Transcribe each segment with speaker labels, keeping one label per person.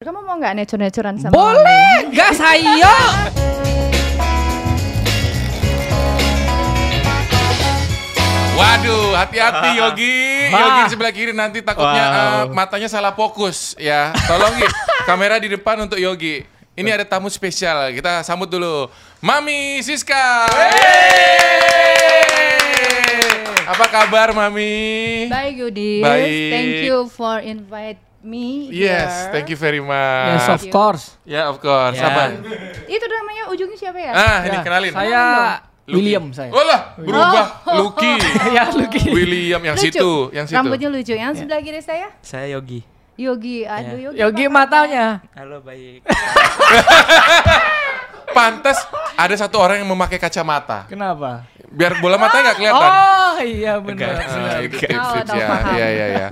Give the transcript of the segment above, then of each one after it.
Speaker 1: Kamu mau nggak necur-necuran sama
Speaker 2: Boleh, gas ayo.
Speaker 3: Waduh, hati-hati Yogi. Yogi di sebelah kiri nanti takutnya
Speaker 4: Wow.
Speaker 3: eh, matanya salah fokus ya. Tolong Gi, kamera di depan untuk Yogi. Ini ada tamu spesial. Kita sambut dulu Mami Siska. Yeay. Apa kabar Mami?
Speaker 1: Mami? Baik Yudi,
Speaker 3: Baik.
Speaker 1: thank you for invite me
Speaker 3: Yes, thank you very much.
Speaker 2: Yes, of course.
Speaker 3: Ya, of course.
Speaker 2: Ya.
Speaker 3: Apa?
Speaker 1: Itu namanya ujungnya siapa ya?
Speaker 3: Ah, ini
Speaker 2: Ya,
Speaker 3: kenalin.
Speaker 2: Saya
Speaker 3: Lucky.
Speaker 2: William saya.
Speaker 3: Walah, berubah.
Speaker 1: Oh.
Speaker 3: Lucky.
Speaker 2: ya, Lucky.
Speaker 3: William yang
Speaker 1: Lucu.
Speaker 3: situ, yang situ. Ya.
Speaker 1: Rambutnya lucu. Yang sebelah kiri saya?
Speaker 4: Saya Yogi.
Speaker 1: Yogi. Aduh Yogi.
Speaker 2: Yogi
Speaker 1: apa kabar?
Speaker 2: matanya.
Speaker 4: Halo baik.
Speaker 3: Pantes ada satu orang yang memakai kacamata.
Speaker 2: Kenapa?
Speaker 3: biar bola matanya nggak kelihatan.
Speaker 2: Oh, iya benar.
Speaker 3: Nah, itu tips,
Speaker 1: Oh,
Speaker 3: tips
Speaker 1: tahu
Speaker 3: ya.
Speaker 1: paham.
Speaker 3: Iya, iya, iya.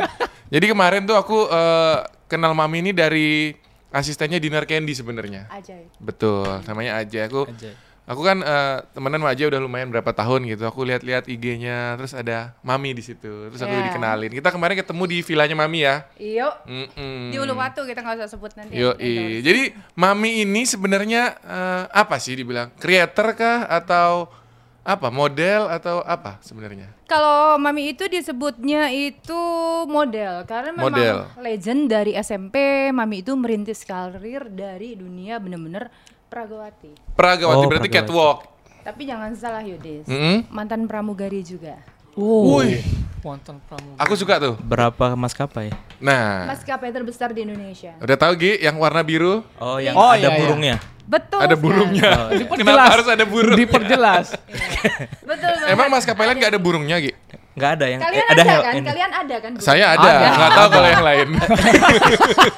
Speaker 3: Jadi kemarin tuh aku eh, kenal Mami ini dari asistennya Dinner Candy sebenarnya.
Speaker 1: Ajaib.
Speaker 3: Betul, namanya Aja. Aku
Speaker 4: Ajay.
Speaker 3: aku kan eh, temenan sama Aja udah lumayan berapa tahun gitu. Aku lihat-lihat IG-nya, terus ada Mami di situ. Terus aku
Speaker 1: Iya.
Speaker 3: dikenalin. Kita kemarin ketemu di villanya Mami ya.
Speaker 1: Iyo.
Speaker 3: Mm-mm.
Speaker 1: Di Uluwatu kita nggak usah sebut nanti. ya.
Speaker 3: Yoi. Iya, Jadi Mami ini sebenarnya eh, apa sih dibilang? Creator kah atau apa? Model atau apa sebenarnya?
Speaker 1: Kalau Mami itu disebutnya itu model karena memang
Speaker 3: Model.
Speaker 1: legend dari SMP. Mami itu merintis karir dari dunia bener-bener pragawati.
Speaker 3: Pragawati
Speaker 4: Oh,
Speaker 3: berarti
Speaker 4: Pragawati.
Speaker 3: catwalk.
Speaker 1: Tapi jangan salah Yudis,
Speaker 3: Mm-mm.
Speaker 1: mantan pramugari juga.
Speaker 2: Wow.
Speaker 3: Wih.
Speaker 2: Wonton pramuka.
Speaker 3: Aku suka tuh.
Speaker 4: Berapa maskapai?
Speaker 3: Nah,
Speaker 1: Maskapai terbesar di Indonesia.
Speaker 3: udah tahu Gi yang warna biru
Speaker 4: Oh, yang
Speaker 2: Oh,
Speaker 4: ada
Speaker 2: iya, iya.
Speaker 4: burungnya.
Speaker 1: Betul.
Speaker 3: ada
Speaker 1: sekali.
Speaker 3: burungnya. Kenapa
Speaker 2: Diperjelas.
Speaker 3: harus ada burung?
Speaker 2: Diperjelas.
Speaker 1: Betul banget.
Speaker 3: Emang maskapai lain nggak ada burungnya Gi?
Speaker 4: Enggak ada yang
Speaker 1: Kalian
Speaker 4: eh,
Speaker 1: ada,
Speaker 4: hel-
Speaker 1: kan?
Speaker 4: ini.
Speaker 1: Kalian ada kan? burung?
Speaker 3: Saya ada,
Speaker 2: Ada.
Speaker 3: nggak tahu kalau yang lain.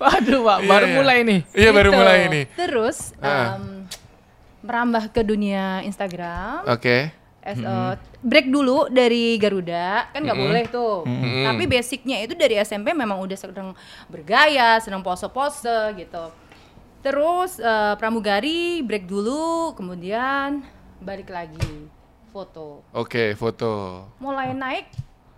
Speaker 2: Waduh, Pak, baru
Speaker 3: Iya, iya.
Speaker 2: mulai nih.
Speaker 3: Iya baru
Speaker 1: Gitu.
Speaker 3: mulai ini.
Speaker 1: Terus
Speaker 3: Ah.
Speaker 1: em, merambah ke dunia Instagram.
Speaker 3: Oke.
Speaker 1: as a- break dulu dari Garuda kan nggak boleh tuh. Tapi basicnya itu dari SMP memang udah sedang bergaya, sedang pose-pose gitu. Terus eh, pramugari break dulu, kemudian balik lagi foto.
Speaker 3: Oke, foto.
Speaker 1: Mulai naik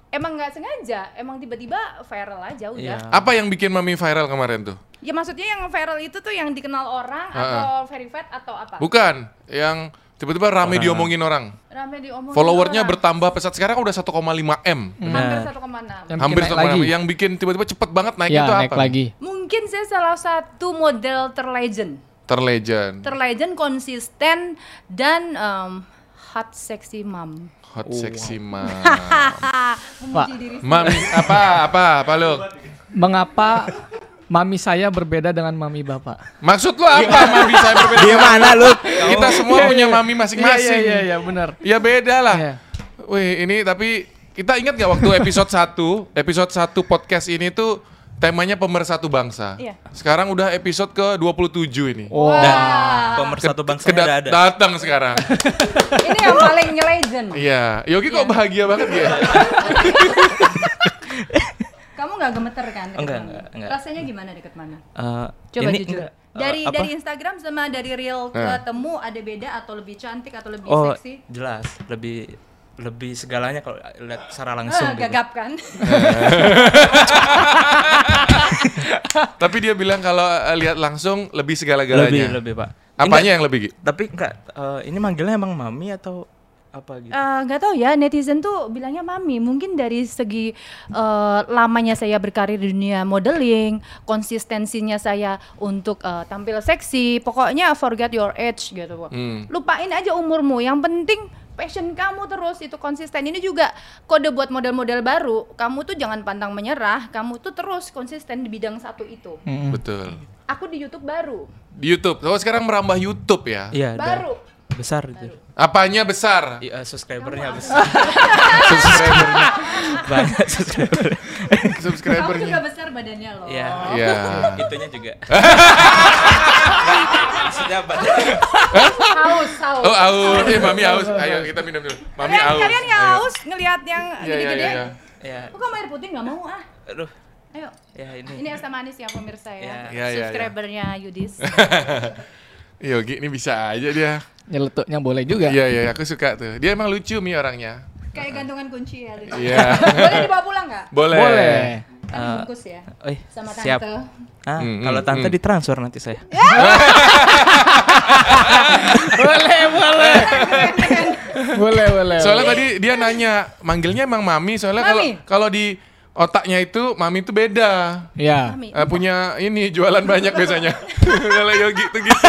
Speaker 1: emang nggak sengaja, emang tiba-tiba viral aja udah.
Speaker 4: Iya.
Speaker 3: Apa yang bikin Mami viral kemarin tuh?
Speaker 1: Ya maksudnya yang viral itu tuh yang dikenal orang
Speaker 3: Ha-ha.
Speaker 1: atau verified atau apa?
Speaker 3: Bukan, yang tiba-tiba rame
Speaker 4: Orang.
Speaker 3: diomongin orang.
Speaker 1: Rame diomongin
Speaker 3: Followernya
Speaker 1: orang.
Speaker 3: bertambah pesat sekarang udah 1,5 m.
Speaker 1: hampir
Speaker 4: Benar.
Speaker 1: 1,6.
Speaker 2: Yang bikin
Speaker 3: Hampir
Speaker 2: naik
Speaker 3: 1,5
Speaker 2: lagi.
Speaker 3: Yang bikin tiba-tiba cepet banget naik
Speaker 2: Ya,
Speaker 3: itu apa?
Speaker 2: naik lagi.
Speaker 1: Mungkin saya salah satu model terlegend.
Speaker 3: Terlegend.
Speaker 1: Terlegend konsisten dan em, hot sexy mom.
Speaker 3: Hot sexy mom.
Speaker 2: Pak,
Speaker 3: Mami apa apa apa lu?
Speaker 2: mengapa mami saya berbeda dengan mami Bapak?
Speaker 3: Maksud lu apa mami saya berbeda?
Speaker 4: Gimana Iya, lu?
Speaker 3: Kita semua punya
Speaker 2: Iya,
Speaker 3: mami
Speaker 2: iya,
Speaker 3: masing-masing.
Speaker 2: iya, iya, benar.
Speaker 3: Ya beda lah.
Speaker 2: Iya.
Speaker 3: Wih, ini tapi kita ingat gak waktu episode 1, episode 1 podcast ini tuh temanya pemersatu bangsa.
Speaker 1: Iya.
Speaker 3: Sekarang udah episode ke 27 ini.
Speaker 2: Oh.
Speaker 4: Dan pemersatu bangsa
Speaker 3: Kedat-
Speaker 4: udah ada.
Speaker 3: datang sekarang.
Speaker 4: Nah.
Speaker 1: Ini yang paling legend.
Speaker 3: Iya, Yogi kok bahagia banget ya?
Speaker 1: Kamu nggak gemeter kan? deket
Speaker 4: Enggak,
Speaker 1: mana?
Speaker 4: enggak, enggak.
Speaker 1: Rasanya gimana deket mana?
Speaker 4: Eh,
Speaker 1: Coba
Speaker 4: ini
Speaker 1: jujur.
Speaker 4: enggak- eh,
Speaker 1: Dari
Speaker 4: apa? Eh.
Speaker 1: dari Instagram sama dari real ketemu ada beda atau lebih cantik atau lebih
Speaker 4: Oh,
Speaker 1: seksi? Eh,
Speaker 4: jelas. Lebih lebih segalanya kalau lihat secara langsung.
Speaker 1: Ah,
Speaker 4: gitu.
Speaker 1: gagap kan?
Speaker 3: tapi dia bilang kalau eh, lihat langsung lebih
Speaker 4: Lebih
Speaker 3: segala-galanya.
Speaker 4: lebih, Pak. Ini
Speaker 3: Apanya yang lebih? Gi?
Speaker 4: enggak- tapi enggak eh, ini manggilnya emang mami atau apa gitu?
Speaker 1: Eh, nggak tahu ya netizen tuh bilangnya mami mungkin dari segi eh, lamanya saya berkarir di dunia modeling konsistensinya saya untuk eh, tampil seksi pokoknya forget your age gitu
Speaker 3: Hmm.
Speaker 1: lupain aja umurmu yang penting passion kamu terus itu konsisten ini juga kode buat model-model baru kamu tuh jangan pantang menyerah kamu tuh terus konsisten di bidang satu itu
Speaker 3: Betul.
Speaker 1: aku di YouTube baru
Speaker 3: Di YouTube. Kalau sekarang merambah YouTube ya.
Speaker 4: Iya, ada.
Speaker 1: baru
Speaker 4: besar itu.
Speaker 3: Apanya besar?
Speaker 4: Iya, subscribernya besar.
Speaker 3: Subscribernya.
Speaker 4: Banyak subscriber.
Speaker 1: kamu juga
Speaker 3: Subscribernya.
Speaker 1: besar badannya loh
Speaker 4: Iya.
Speaker 3: Iya.
Speaker 4: Itunya juga. Maksudnya apa?
Speaker 1: haus haus
Speaker 3: Oh, aus. Eh, Mami aus. Ayo kita minum dulu. Mami
Speaker 1: kalian,
Speaker 3: aus.
Speaker 1: kalian nggak
Speaker 3: Ayo.
Speaker 1: haus ngelihat yang
Speaker 3: Iya, iya,
Speaker 1: gede-gede?
Speaker 3: iya. iya.
Speaker 4: Ya,
Speaker 1: Kok kamu air putih nggak mau ah?
Speaker 4: aduh.
Speaker 1: Ayo.
Speaker 4: Ya
Speaker 1: Ini
Speaker 4: ini.
Speaker 1: es teh manis ya pemirsa ya.
Speaker 4: Iya.
Speaker 3: Iya, iya, iya.
Speaker 1: Subscribernya Yudis.
Speaker 3: Yogi ini bisa aja dia.
Speaker 2: Nyeletuknya boleh juga.
Speaker 3: Iya, iya, aku suka tuh. Dia emang lucu Mi orangnya.
Speaker 1: Kayak gantungan kunci ya. Yudis.
Speaker 3: Iya.
Speaker 1: Boleh dibawa pulang nggak?
Speaker 3: Boleh.
Speaker 2: Boleh.
Speaker 1: Kan
Speaker 4: Eh,
Speaker 1: bungkus ya.
Speaker 4: eh,
Speaker 1: Sama
Speaker 4: siap.
Speaker 1: tante.
Speaker 4: Ah,
Speaker 3: Hmm,
Speaker 4: kalau
Speaker 3: hmm,
Speaker 4: tante
Speaker 3: hmm.
Speaker 4: ditransfer nanti saya.
Speaker 2: boleh, boleh. boleh, boleh.
Speaker 3: Soalnya tadi dia nanya manggilnya emang mami soalnya kalau
Speaker 1: Mami.
Speaker 3: kalau di otaknya itu mami itu beda.
Speaker 2: ya.
Speaker 1: Mami.
Speaker 3: Eh, punya ini jualan banyak biasanya. Kalau Yogi tuh gitu.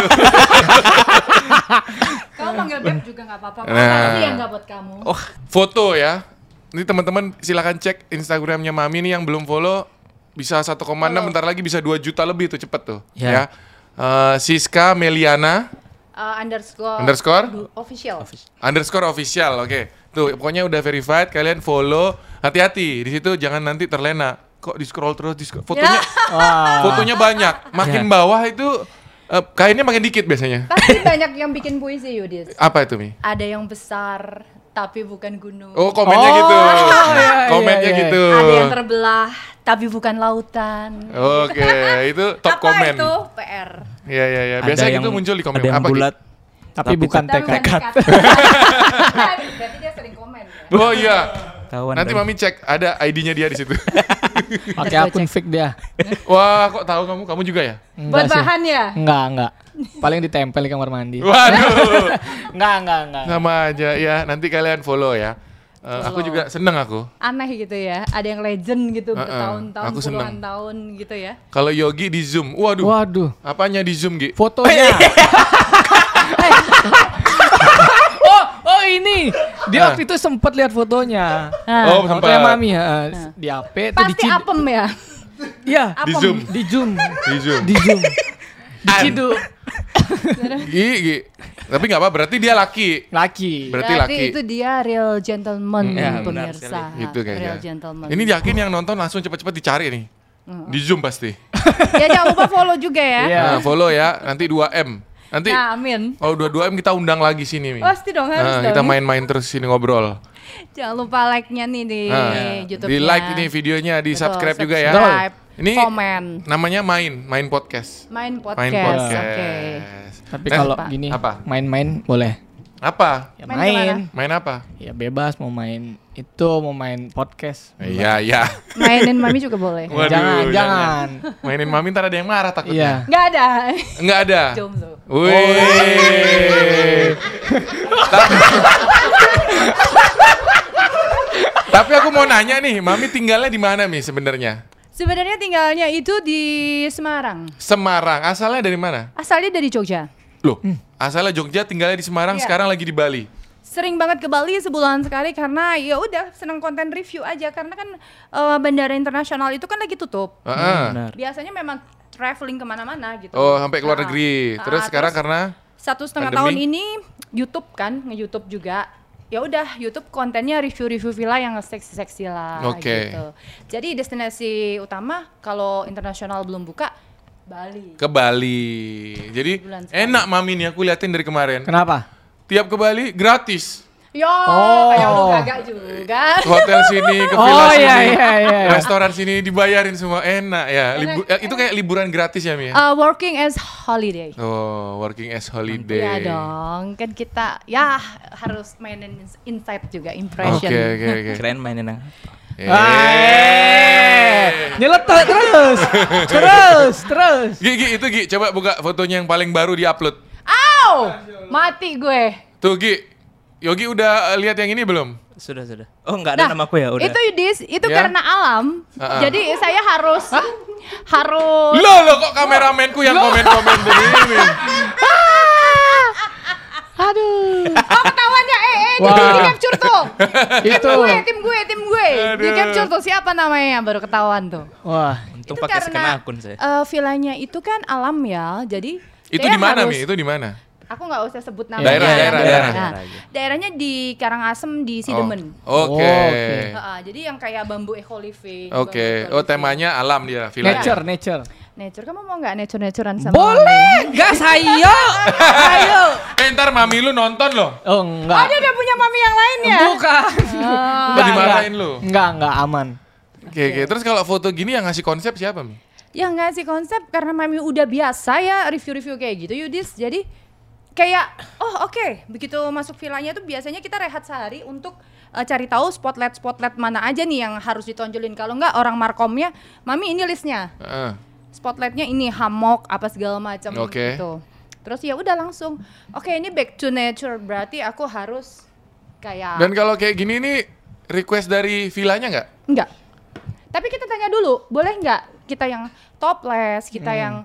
Speaker 1: Kamu manggil Beb juga nggak apa-apa.
Speaker 3: eh. Nah.
Speaker 1: Tapi yang nggak buat kamu.
Speaker 3: Oh, foto ya. Ini teman-teman silahkan cek Instagramnya Mami nih yang belum follow bisa 1,6 bentar lagi bisa 2 juta lebih tuh cepet tuh. Ya.
Speaker 4: Ya.
Speaker 3: Eh, Siska Meliana
Speaker 1: Eh, underscore.
Speaker 3: Underscore?
Speaker 1: du- Official.
Speaker 3: underscore official. Oke. Tuh pokoknya udah verified kalian follow. Hati-hati di situ jangan nanti terlena. Kok di scroll terus di scroll- fotonya
Speaker 2: Wah.
Speaker 3: fotonya banyak. Makin
Speaker 4: Ya.
Speaker 3: bawah itu eh, kainnya makin dikit biasanya.
Speaker 1: Pasti banyak yang bikin puisi Yudis.
Speaker 3: Apa itu Mi?
Speaker 1: Ada yang besar tapi bukan gunung.
Speaker 3: Oh komennya
Speaker 2: Oh,
Speaker 3: gitu.
Speaker 2: iya,
Speaker 3: komennya
Speaker 2: iya, iya.
Speaker 3: gitu.
Speaker 1: Ada yang terbelah tapi bukan lautan.
Speaker 3: Oke, itu Eh, top
Speaker 1: Apa
Speaker 3: komen.
Speaker 1: itu PR?
Speaker 3: Iya iya iya.
Speaker 4: Ada
Speaker 3: Biasanya
Speaker 4: yang-
Speaker 3: itu muncul di komen
Speaker 4: Ada yang
Speaker 3: apa? Ki?
Speaker 4: bulat.
Speaker 2: Tapi bukan
Speaker 1: Tapi bukan
Speaker 2: tekad.
Speaker 1: tekad. Berarti dia sering komen ya.
Speaker 3: Oh iya.
Speaker 4: Tahuan
Speaker 3: Nanti
Speaker 4: dong.
Speaker 3: mami cek ada ID-nya dia di situ.
Speaker 2: Pakai akun fake dia.
Speaker 3: Wah, kok tahu kamu? Kamu juga ya?
Speaker 4: Iya.
Speaker 1: Buat
Speaker 2: Enggak sih.
Speaker 1: bahan ya.
Speaker 2: Enggak, enggak. Paling ditempel di kamar mandi.
Speaker 3: Waduh.
Speaker 2: Enggak, enggak, enggak.
Speaker 3: Sama aja ya. Nanti kalian follow ya. Eh, aku juga seneng aku.
Speaker 1: Aneh gitu ya. Ada yang legend gitu
Speaker 3: Heeh,
Speaker 1: bertahun-tahun,
Speaker 3: aku
Speaker 1: puluhan
Speaker 3: seneng.
Speaker 1: tahun gitu ya.
Speaker 3: Kalau Yogi di Zoom. Waduh.
Speaker 2: Waduh,
Speaker 3: Apanya di Zoom, Gi?
Speaker 2: fotonya. Eh. oh, oh ini. Dia waktu itu sempat lihat fotonya.
Speaker 3: Eh.
Speaker 1: Nah,
Speaker 3: Oh,
Speaker 2: Fotonya
Speaker 3: sempat.
Speaker 2: Nah, mami ya. Di HP
Speaker 1: Eh.
Speaker 2: tuh di
Speaker 1: Pasti
Speaker 2: Cid-
Speaker 1: apem ya.
Speaker 2: Iya,
Speaker 3: Di
Speaker 1: Apem.
Speaker 3: Zoom.
Speaker 2: di Zoom.
Speaker 3: Di Zoom.
Speaker 2: Di Zoom. Di Cidu.
Speaker 3: Gi, Gi. Tapi nggak apa, berarti dia laki.
Speaker 2: Laki.
Speaker 3: Berarti laki. Mm, iya,
Speaker 1: itu dia real gentleman
Speaker 4: ya, benar
Speaker 1: pemirsa.
Speaker 3: Gitu kayaknya.
Speaker 1: Real gentleman.
Speaker 3: Ini yakin yang nonton langsung cepet-cepet dicari nih. Di Zoom pasti.
Speaker 1: ya jangan lupa follow juga ya.
Speaker 2: Iya.
Speaker 3: Nah, follow ya. Nanti 2M. Nanti
Speaker 1: Nah, amin.
Speaker 3: kalau 2-2M kita undang lagi sini, Mi.
Speaker 1: Pasti dong, harus
Speaker 3: Nah, Kita
Speaker 1: dong.
Speaker 3: main-main terus sini ngobrol.
Speaker 1: Jangan lupa like-nya nih di
Speaker 3: Nah,
Speaker 1: YouTube.
Speaker 3: di like ini videonya, di
Speaker 1: Betul,
Speaker 3: subscribe juga ya.
Speaker 1: subscribe,
Speaker 3: Ini
Speaker 1: komen.
Speaker 3: namanya main, main podcast.
Speaker 1: Main podcast.
Speaker 3: Main podcast.
Speaker 1: Oke.
Speaker 2: Tapi
Speaker 3: Nah,
Speaker 2: kalau
Speaker 1: apa?
Speaker 2: gini
Speaker 3: Apa?
Speaker 2: main-main boleh.
Speaker 3: apa?
Speaker 2: Ya
Speaker 1: Main
Speaker 2: main.
Speaker 3: Main apa?
Speaker 2: Ya bebas mau main itu, mau main podcast. Eh,
Speaker 3: Iya, iya.
Speaker 1: Mainin Mami juga boleh.
Speaker 3: Waduh,
Speaker 2: jangan,
Speaker 3: jangan.
Speaker 2: jangan.
Speaker 3: Mainin Mami ntar ada yang marah takutnya.
Speaker 2: Iya.
Speaker 1: Nggak ada.
Speaker 3: Enggak ada.
Speaker 1: Jomblo.
Speaker 3: Wih. tapi, tapi aku mau nanya nih, Mami tinggalnya di mana Mi sebenarnya?
Speaker 1: Sebenarnya tinggalnya itu di Semarang.
Speaker 3: Semarang. Asalnya dari mana?
Speaker 1: Asalnya dari Jogja.
Speaker 3: Loh, asalnya Jogja tinggalnya di Semarang,
Speaker 1: Iya.
Speaker 3: sekarang lagi di Bali.
Speaker 1: Sering banget ke Bali sebulan sekali karena ya udah seneng konten review aja karena kan eh, bandara internasional itu kan lagi tutup.
Speaker 3: Heeh.
Speaker 4: Benar.
Speaker 1: Biasanya memang traveling kemana-mana gitu.
Speaker 3: Oh, sampai ke luar
Speaker 1: Ah,
Speaker 3: negeri.
Speaker 1: ah,
Speaker 3: Terus sekarang karena
Speaker 1: satu setengah
Speaker 3: Pandemi.
Speaker 1: tahun ini YouTube kan nge YouTube juga ya udah YouTube kontennya review-review villa yang seksi-seksi lah
Speaker 3: Oke.
Speaker 1: gitu. Jadi destinasi utama kalau internasional belum buka Bali.
Speaker 3: ke Bali. Jadi
Speaker 1: Sebulan sekali.
Speaker 3: enak mami nih aku liatin dari kemarin.
Speaker 2: Kenapa?
Speaker 3: Tiap ke Bali gratis.
Speaker 1: Yo,
Speaker 2: Oh.
Speaker 1: kayak lu kagak juga.
Speaker 3: Ke hotel sini, ke villa
Speaker 2: Oh
Speaker 3: sini.
Speaker 2: iya iya iya.
Speaker 3: Restoran sini dibayarin semua enak ya. Libu- eh, itu kayak liburan gratis ya Mi ya?
Speaker 1: Uh, working as holiday.
Speaker 3: Oh, working as
Speaker 1: Iya
Speaker 3: holiday.
Speaker 1: dong, kan kita ya harus mainin insight juga
Speaker 3: Oke,
Speaker 1: impression.
Speaker 3: oke, oke. Iya.
Speaker 4: Kirain mainin yang
Speaker 2: Eh, Nyeletuk terus. terus, terus.
Speaker 3: Gi, Gi, itu Gi, coba buka fotonya yang paling baru di-upload.
Speaker 1: Au! Mati gue.
Speaker 3: Tuh Gi, Yogi udah eh, lihat yang ini belum?
Speaker 4: sudah sudah. Oh nggak ada nama aku ya udah.
Speaker 1: Nah, Itu Yudis, itu
Speaker 3: Ya.
Speaker 1: karena alam.
Speaker 3: Ah-ah.
Speaker 1: Jadi saya harus harus
Speaker 3: Loh, loh kok kameramenku yang komen-komen begini?
Speaker 1: Ah! Aduh. Oh ketahuan ya, eh, eh, di,
Speaker 2: Wah.
Speaker 1: di capture tuh. Tim
Speaker 2: Itu.
Speaker 1: gue, tim gue, tim gue. Di
Speaker 3: Aduh.
Speaker 1: capture tuh siapa namanya baru ketahuan tuh.
Speaker 2: Wah,
Speaker 4: Untung pakai skena akun saya.
Speaker 1: eh, villanya itu kan alam ya, jadi
Speaker 3: Itu
Speaker 1: saya
Speaker 3: di mana
Speaker 1: harus-
Speaker 3: Mi? Itu di mana?
Speaker 1: Aku nggak usah sebut nama.
Speaker 2: Daerah,
Speaker 1: Nah,
Speaker 3: daerah,
Speaker 4: daerah.
Speaker 1: Nah,
Speaker 4: Daerah aja.
Speaker 1: daerahnya di Karangasem di
Speaker 3: Oh,
Speaker 1: Sidemen.
Speaker 3: Oke.
Speaker 2: Oh, oke.
Speaker 1: Heeh, jadi yang kayak bambu eco living.
Speaker 3: Oke,
Speaker 1: bambu
Speaker 3: oh
Speaker 1: eco-living.
Speaker 3: temanya alam dia filmnya.
Speaker 2: nature, nature.
Speaker 1: Nature, kamu mau nggak nature naturean sama?
Speaker 2: Boleh, gas ayo. ayo.
Speaker 3: Eh ntar mami lu nonton loh.
Speaker 1: Oh
Speaker 2: Oh, enggak.
Speaker 1: dia udah punya mami yang lain ya?
Speaker 2: Bukan.
Speaker 3: Ntar dimarahin lu.
Speaker 2: Enggak, enggak aman.
Speaker 3: Oke, oke. Terus kalau foto gini yang ngasih konsep siapa, Mi?
Speaker 1: yang ngasih Ya konsep karena mami udah biasa ya review-review kayak gitu Yudis jadi kayak oh oke begitu masuk villanya tuh biasanya kita rehat sehari untuk eh, cari tahu spotlight spotlight mana aja nih yang harus ditonjolin. Kalau nggak orang markomnya, mami ini listnya,
Speaker 3: Heeh.
Speaker 1: spotlightnya ini hamok apa segala macam
Speaker 3: Oke.
Speaker 1: gitu. Terus ya udah langsung. Oke ini back to nature berarti aku harus kayak
Speaker 3: Dan kalau kayak gini nih request dari villanya nggak?
Speaker 1: Enggak. Tapi kita tanya dulu, boleh nggak kita yang topless, kita
Speaker 3: Hmm.
Speaker 1: yang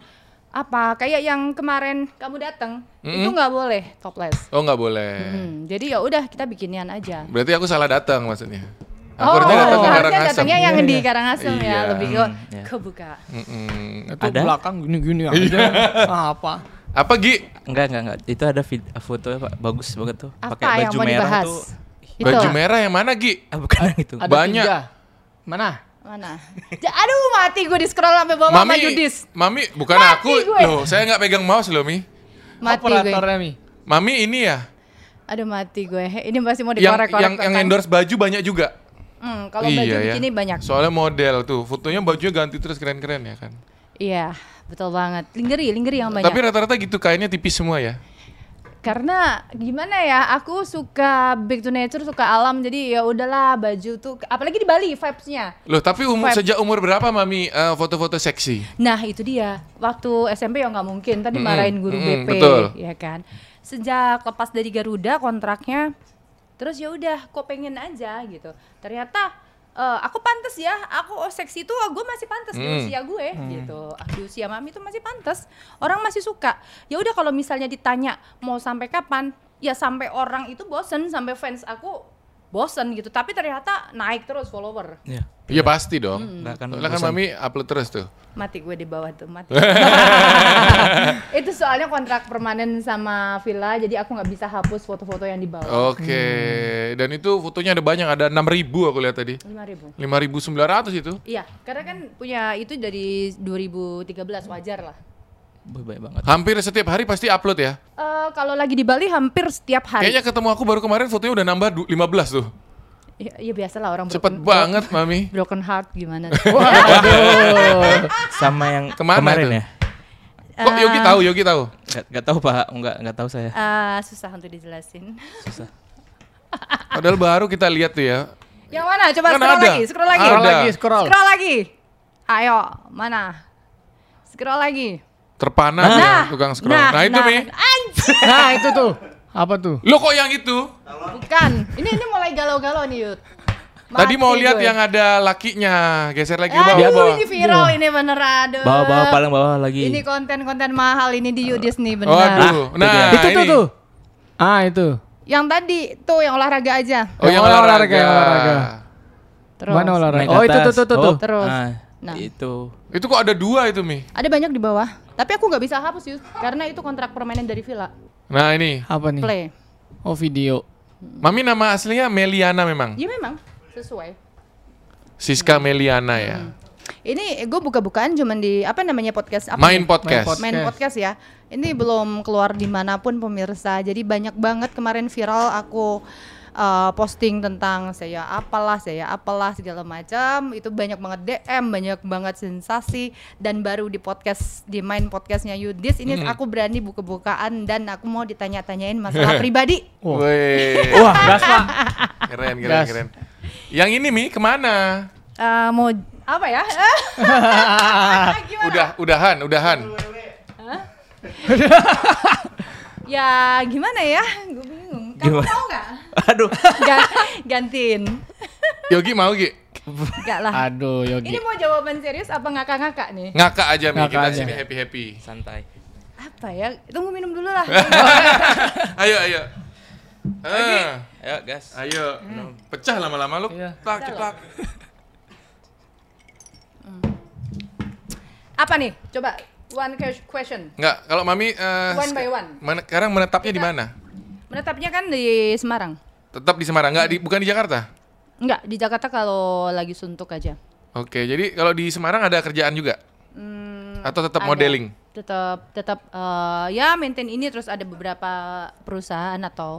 Speaker 1: apa? Kayak yang kemarin kamu datang,
Speaker 3: Hmm.
Speaker 1: itu nggak boleh topless.
Speaker 3: Oh nggak boleh.
Speaker 1: Hmm, jadi ya udah kita bikinian aja.
Speaker 3: Berarti aku salah datang maksudnya. Aku
Speaker 1: Oh,
Speaker 3: harusnya datang ke
Speaker 1: harusnya
Speaker 3: Karangasem.
Speaker 1: datangnya yang di Karangasem
Speaker 3: Iya. Hmm,
Speaker 1: ya, lebih ke
Speaker 4: iya.
Speaker 1: kebuka.
Speaker 3: Mm-mm.
Speaker 2: Itu
Speaker 4: Ada?
Speaker 2: belakang gini-gini aja. Ah, apa?
Speaker 3: Apa Gi?
Speaker 4: Enggak, enggak, enggak. Itu ada vid- foto Pak. Bagus banget tuh.
Speaker 1: Apa
Speaker 4: Pakai
Speaker 1: yang
Speaker 4: baju
Speaker 1: mau
Speaker 4: merah
Speaker 1: dibahas?
Speaker 4: tuh.
Speaker 1: Itu.
Speaker 3: Baju merah yang mana Gi?
Speaker 4: Ah, bukan yang itu.
Speaker 2: Ada
Speaker 3: Banyak.
Speaker 2: tiga. Mana?
Speaker 1: Mana? Ja- aduh mati gue di scroll sampai bawah sama
Speaker 3: Mami,
Speaker 1: Yudis.
Speaker 3: Mami bukan
Speaker 1: Oh, Mati
Speaker 3: aku.
Speaker 1: gue.
Speaker 3: Loh, saya nggak pegang mouse loh Mi.
Speaker 1: Mati gue.
Speaker 2: Operatornya, Mi.
Speaker 3: Mami ini ya,
Speaker 1: Aduh mati gue. Ini masih mau
Speaker 3: yang
Speaker 1: dikorek-korek.
Speaker 3: yang, yang
Speaker 1: kan?
Speaker 3: endorse Iya, ya. baju banyak juga.
Speaker 1: Hmm, kalau baju bikini banyak.
Speaker 3: Soalnya model tuh, fotonya bajunya ganti terus keren-keren ya kan.
Speaker 1: Iya, betul banget. Lingerie, lingerie yang banyak.
Speaker 3: Tapi rata-rata gitu kainnya tipis semua ya.
Speaker 1: karena gimana ya aku suka back to nature suka alam jadi ya udahlah baju tuh apalagi di Bali vibesnya
Speaker 3: Loh, tapi umur
Speaker 1: Vibe.
Speaker 3: sejak umur berapa Mami eh, foto-foto seksi?
Speaker 1: nah itu dia waktu SMP ya nggak mungkin tadi
Speaker 3: Mm-mm,
Speaker 1: marahin guru BP
Speaker 3: mm-mm, betul.
Speaker 1: ya kan sejak lepas dari Garuda kontraknya terus ya udah kok pengen aja gitu ternyata eh, aku pantas ya aku seksi tuh gue masih pantas di
Speaker 3: Mm.
Speaker 1: usia gue gitu di usia mami tuh masih pantas orang masih suka ya udah kalau misalnya ditanya mau sampai kapan ya sampai orang itu bosen sampai fans aku bosen gitu tapi ternyata naik terus follower
Speaker 4: Iya.
Speaker 3: Iya pasti dong.
Speaker 1: Hmm.
Speaker 4: Nggak akan
Speaker 3: Soalnya kan
Speaker 4: bosan.
Speaker 3: Mami upload terus tuh.
Speaker 1: mati gue di bawah tuh mati itu soalnya kontrak permanen sama villa jadi aku nggak bisa hapus foto-foto yang di bawah
Speaker 3: Oke, dan itu fotonya ada banyak, ada 6000 aku lihat tadi.
Speaker 1: lima ribu
Speaker 3: 5900 itu.
Speaker 1: iya karena kan punya itu dari 2013 wajar lah
Speaker 4: Boy, Baik banget.
Speaker 3: Hampir setiap hari pasti upload ya.
Speaker 1: Eh, kalau lagi di Bali hampir setiap hari
Speaker 3: Kayaknya ketemu aku baru kemarin fotonya udah nambah du- 15 tuh.
Speaker 1: ya, ya biasa lah orang
Speaker 3: Cepet
Speaker 1: broken-
Speaker 3: banget Mami.
Speaker 1: broken heart gimana
Speaker 4: Sama yang
Speaker 3: Kemana
Speaker 4: kemarin
Speaker 3: tuh?
Speaker 4: ya?
Speaker 3: Kok Yogi tahu, Yogi tahu.
Speaker 4: Nggak, nggak tahu Pak, nggak nggak tahu saya.
Speaker 1: Eh, susah untuk dijelasin
Speaker 3: Padahal baru kita lihat tuh ya.
Speaker 1: yang mana coba
Speaker 3: Kan
Speaker 1: scroll
Speaker 3: ada.
Speaker 1: lagi scroll lagi
Speaker 3: Ada.
Speaker 2: Scroll lagi, scroll.
Speaker 1: scroll lagi ayo mana scroll lagi
Speaker 3: Terpana
Speaker 1: nah,
Speaker 3: dia, tukang scroll. Nah, itu Mi.
Speaker 1: Anjir.
Speaker 2: Nah, itu tuh. Apa tuh?
Speaker 3: Lo kok yang itu?
Speaker 1: Bukan. Ini ini mulai galau-galau nih, Yud.
Speaker 3: Tadi mau lihat yang ada lakinya, geser lagi ke
Speaker 1: Eh, Aduh,
Speaker 3: bawah. bawah.
Speaker 1: ini viral ini bener aduh.
Speaker 4: Bawah-bawah paling bawah lagi.
Speaker 1: Ini konten-konten mahal ini di Yudis nih bener.
Speaker 3: Waduh,
Speaker 4: itu
Speaker 3: nah
Speaker 4: dia.
Speaker 2: itu tuh
Speaker 3: ini.
Speaker 2: tuh. Ah, itu.
Speaker 1: Yang tadi tuh yang olahraga aja.
Speaker 3: Oh
Speaker 2: Yang
Speaker 3: yang
Speaker 2: olahraga,
Speaker 3: olahraga.
Speaker 2: yang olahraga.
Speaker 1: Terus.
Speaker 2: Mana olahraga?
Speaker 4: Naik
Speaker 2: Oh, itu
Speaker 4: atas.
Speaker 2: tuh tuh tuh. tuh.
Speaker 4: Oh,
Speaker 1: Terus.
Speaker 4: ah,
Speaker 1: Nah.
Speaker 4: Itu.
Speaker 3: Itu kok ada dua itu Mi?
Speaker 1: Ada banyak di bawah. Tapi aku nggak bisa hapus Yud karena itu kontrak permanen dari Villa.
Speaker 3: Nah ini,
Speaker 2: Apa nih?
Speaker 1: Play.
Speaker 2: Oh, video.
Speaker 3: Mami nama aslinya Meliana memang.
Speaker 1: Ya memang sesuai.
Speaker 3: Siska Meliana ya.
Speaker 2: Hmm.
Speaker 1: Ini gue buka-bukaan cuman di apa namanya podcast apa? ya?
Speaker 3: Main podcast.
Speaker 2: Main pod-
Speaker 1: main podcast ya. Ini belum keluar dimanapun pemirsa. Jadi banyak banget kemarin viral aku uh, posting tentang saya apalah, saya apalah segala macam. Itu banyak banget DM, banyak banget sensasi dan baru di podcast di main podcastnya Yudis ini aku berani buka-bukaan dan aku mau ditanya-tanyain masalah pribadi.
Speaker 2: Wow.
Speaker 3: Weh,
Speaker 2: Wah, gas, Pak.
Speaker 3: keren keren
Speaker 2: Gas.
Speaker 3: keren. Yang ini Mi kemana?
Speaker 1: Uh, mau apa ya?
Speaker 3: Udah udahan udahan.
Speaker 1: ya gimana ya? Gue bingung. Kamu
Speaker 4: Gimana?
Speaker 1: mau nggak?
Speaker 4: Aduh.
Speaker 1: Ga- gantiin.
Speaker 3: Yogi mau Gi?
Speaker 1: Enggak lah.
Speaker 2: Aduh, Yogi.
Speaker 1: Ah. Ini mau jawaban serius apa ngakak-ngakak nih?
Speaker 3: Ngakak aja Mi
Speaker 2: Ngakak
Speaker 3: kita
Speaker 2: aja.
Speaker 3: sini happy happy.
Speaker 4: Santai.
Speaker 1: Apa ya? Tunggu minum dulu lah.
Speaker 3: ayo ayo. Ah,
Speaker 4: Ayo, gas.
Speaker 3: ayo.
Speaker 1: Hmm.
Speaker 3: Pecah lama-lama lu.
Speaker 2: Iya.
Speaker 3: Plak plak.
Speaker 1: Apa nih? Coba one que- question.
Speaker 3: Enggak, kalau Mami eh,
Speaker 1: One by one.
Speaker 3: mana- sekarang menetapnya di mana?
Speaker 1: Menetapnya kan di Semarang.
Speaker 3: Tetap di Semarang, enggak di bukan di Jakarta.
Speaker 1: Enggak, di Jakarta kalau lagi suntuk aja.
Speaker 3: Oke, jadi kalau di Semarang ada kerjaan juga
Speaker 1: Hmm,
Speaker 3: atau tetap
Speaker 1: ada.
Speaker 3: modeling?
Speaker 1: Tetap tetap eh, ya maintain ini terus ada beberapa perusahaan atau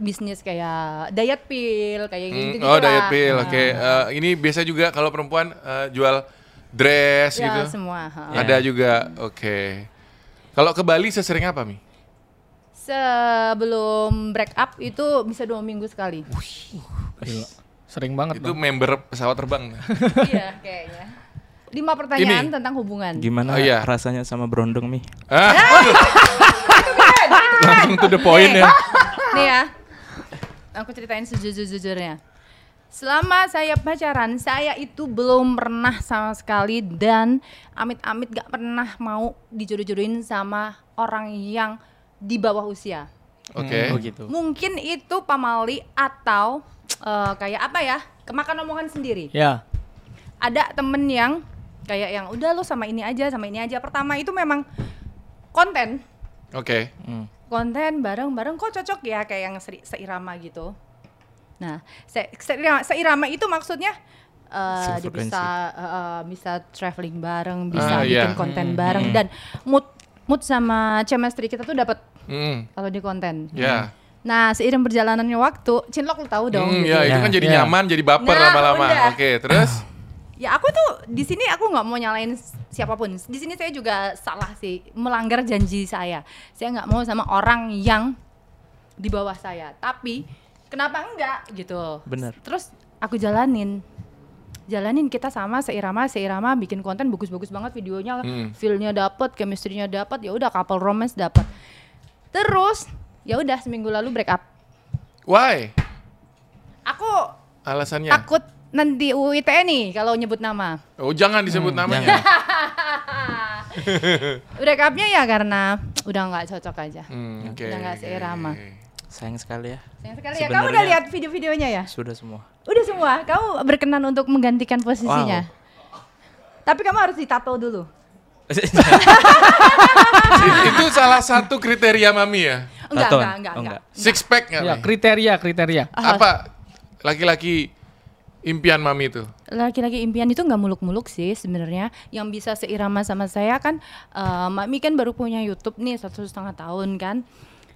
Speaker 1: bisnis kayak diet pill kayak
Speaker 3: Hmm,
Speaker 1: gitu gitu.
Speaker 3: oh, diet pill. Oke, eh, ini biasa juga kalau perempuan eh, jual dress
Speaker 1: Ya,
Speaker 3: gitu.
Speaker 1: semua. ha.
Speaker 4: Ya.
Speaker 3: Ada juga. Oke. Kalau ke Bali sesering apa, Mi?
Speaker 1: Sebelum break up itu bisa dua minggu sekali.
Speaker 2: Gila. Sering banget
Speaker 3: Itu
Speaker 2: dong.
Speaker 3: member pesawat terbang.
Speaker 1: iya kayaknya. Lima pertanyaan tentang hubungan.
Speaker 4: Gimana
Speaker 3: Oh, iya.
Speaker 4: rasanya sama berondong mi?
Speaker 3: ah,
Speaker 1: Eh,
Speaker 3: aduh. Langsung to the point ya.
Speaker 1: Nih ya. Aku ceritain sejujur-jujurnya. Selama saya pacaran, saya itu belum pernah sama sekali dan amit-amit gak pernah mau dijodoh-jodohin sama orang yang di bawah usia.
Speaker 3: Oke.
Speaker 2: Oh gitu.
Speaker 1: Mungkin itu pamali atau eh, kayak apa ya? Kemakan omongan sendiri.
Speaker 2: Ya.
Speaker 1: ada temen yang kayak yang udah lo sama ini aja sama ini aja pertama itu memang konten
Speaker 3: Oke.
Speaker 1: konten bareng-bareng kok cocok ya kayak yang seri- seirama gitu nah se- seirama, seirama itu maksudnya eh, dia
Speaker 4: Sefrekuensi.
Speaker 1: bisa eh, eh, bisa traveling bareng bisa
Speaker 3: Ah,
Speaker 1: bikin
Speaker 3: iya.
Speaker 1: konten bareng dan mood mood sama chemistry kita tuh dapat
Speaker 3: Hmm.
Speaker 1: kalau di konten
Speaker 3: Ya.
Speaker 1: nah seiring perjalanannya waktu cinlok lo tahu dong
Speaker 3: Hmm,
Speaker 1: gitu
Speaker 3: ya, itu kan
Speaker 2: Ya,
Speaker 3: jadi
Speaker 2: ya.
Speaker 3: nyaman, jadi baper
Speaker 1: Nah,
Speaker 3: lama-lama.
Speaker 1: udah.
Speaker 3: Oke, terus?
Speaker 1: Ya aku tuh di sini aku nggak mau nyalain siapapun. Di sini saya juga salah sih melanggar janji saya. Saya nggak mau sama orang yang di bawah saya. Tapi kenapa enggak gitu?
Speaker 4: Bener.
Speaker 1: Terus aku jalanin. Jalanin kita sama seirama seirama bikin konten bagus-bagus banget videonya,
Speaker 3: Hmm.
Speaker 1: feel-nya dapet, chemistry-nya dapet, ya udah couple romance dapet. Terus ya udah seminggu lalu break up.
Speaker 3: Why?
Speaker 1: Aku
Speaker 3: Alasannya?
Speaker 1: takut nanti UITE E nih kalau nyebut nama.
Speaker 3: Oh, jangan disebut namanya.
Speaker 1: Break up-nya ya karena udah nggak cocok aja.
Speaker 3: Hmm, oke.
Speaker 1: Udah nggak seirama.
Speaker 4: Sayang sekali ya.
Speaker 1: Sayang sekali ya. Kamu udah
Speaker 4: Sebenarnya-
Speaker 1: lihat video-videonya ya?
Speaker 4: Sudah semua.
Speaker 1: Udah semua. Kamu berkenan untuk menggantikan posisinya. Tapi kamu harus ditato dulu.
Speaker 3: It- itu salah satu kriteria mami ya.
Speaker 1: Enggak,
Speaker 4: Tatoan?
Speaker 1: enggak, enggak,
Speaker 4: Oh,
Speaker 1: enggak.
Speaker 4: enggak.
Speaker 3: Six pack
Speaker 1: Iya,
Speaker 2: Ya,
Speaker 3: nggak? Mi?
Speaker 2: kriteria kriteria.
Speaker 3: Apa laki-laki impian mami itu?
Speaker 1: Laki-laki impian itu nggak muluk-muluk sih sebenarnya. Yang bisa seirama sama saya kan, eh, Mami kan baru punya YouTube nih satu setengah tahun kan.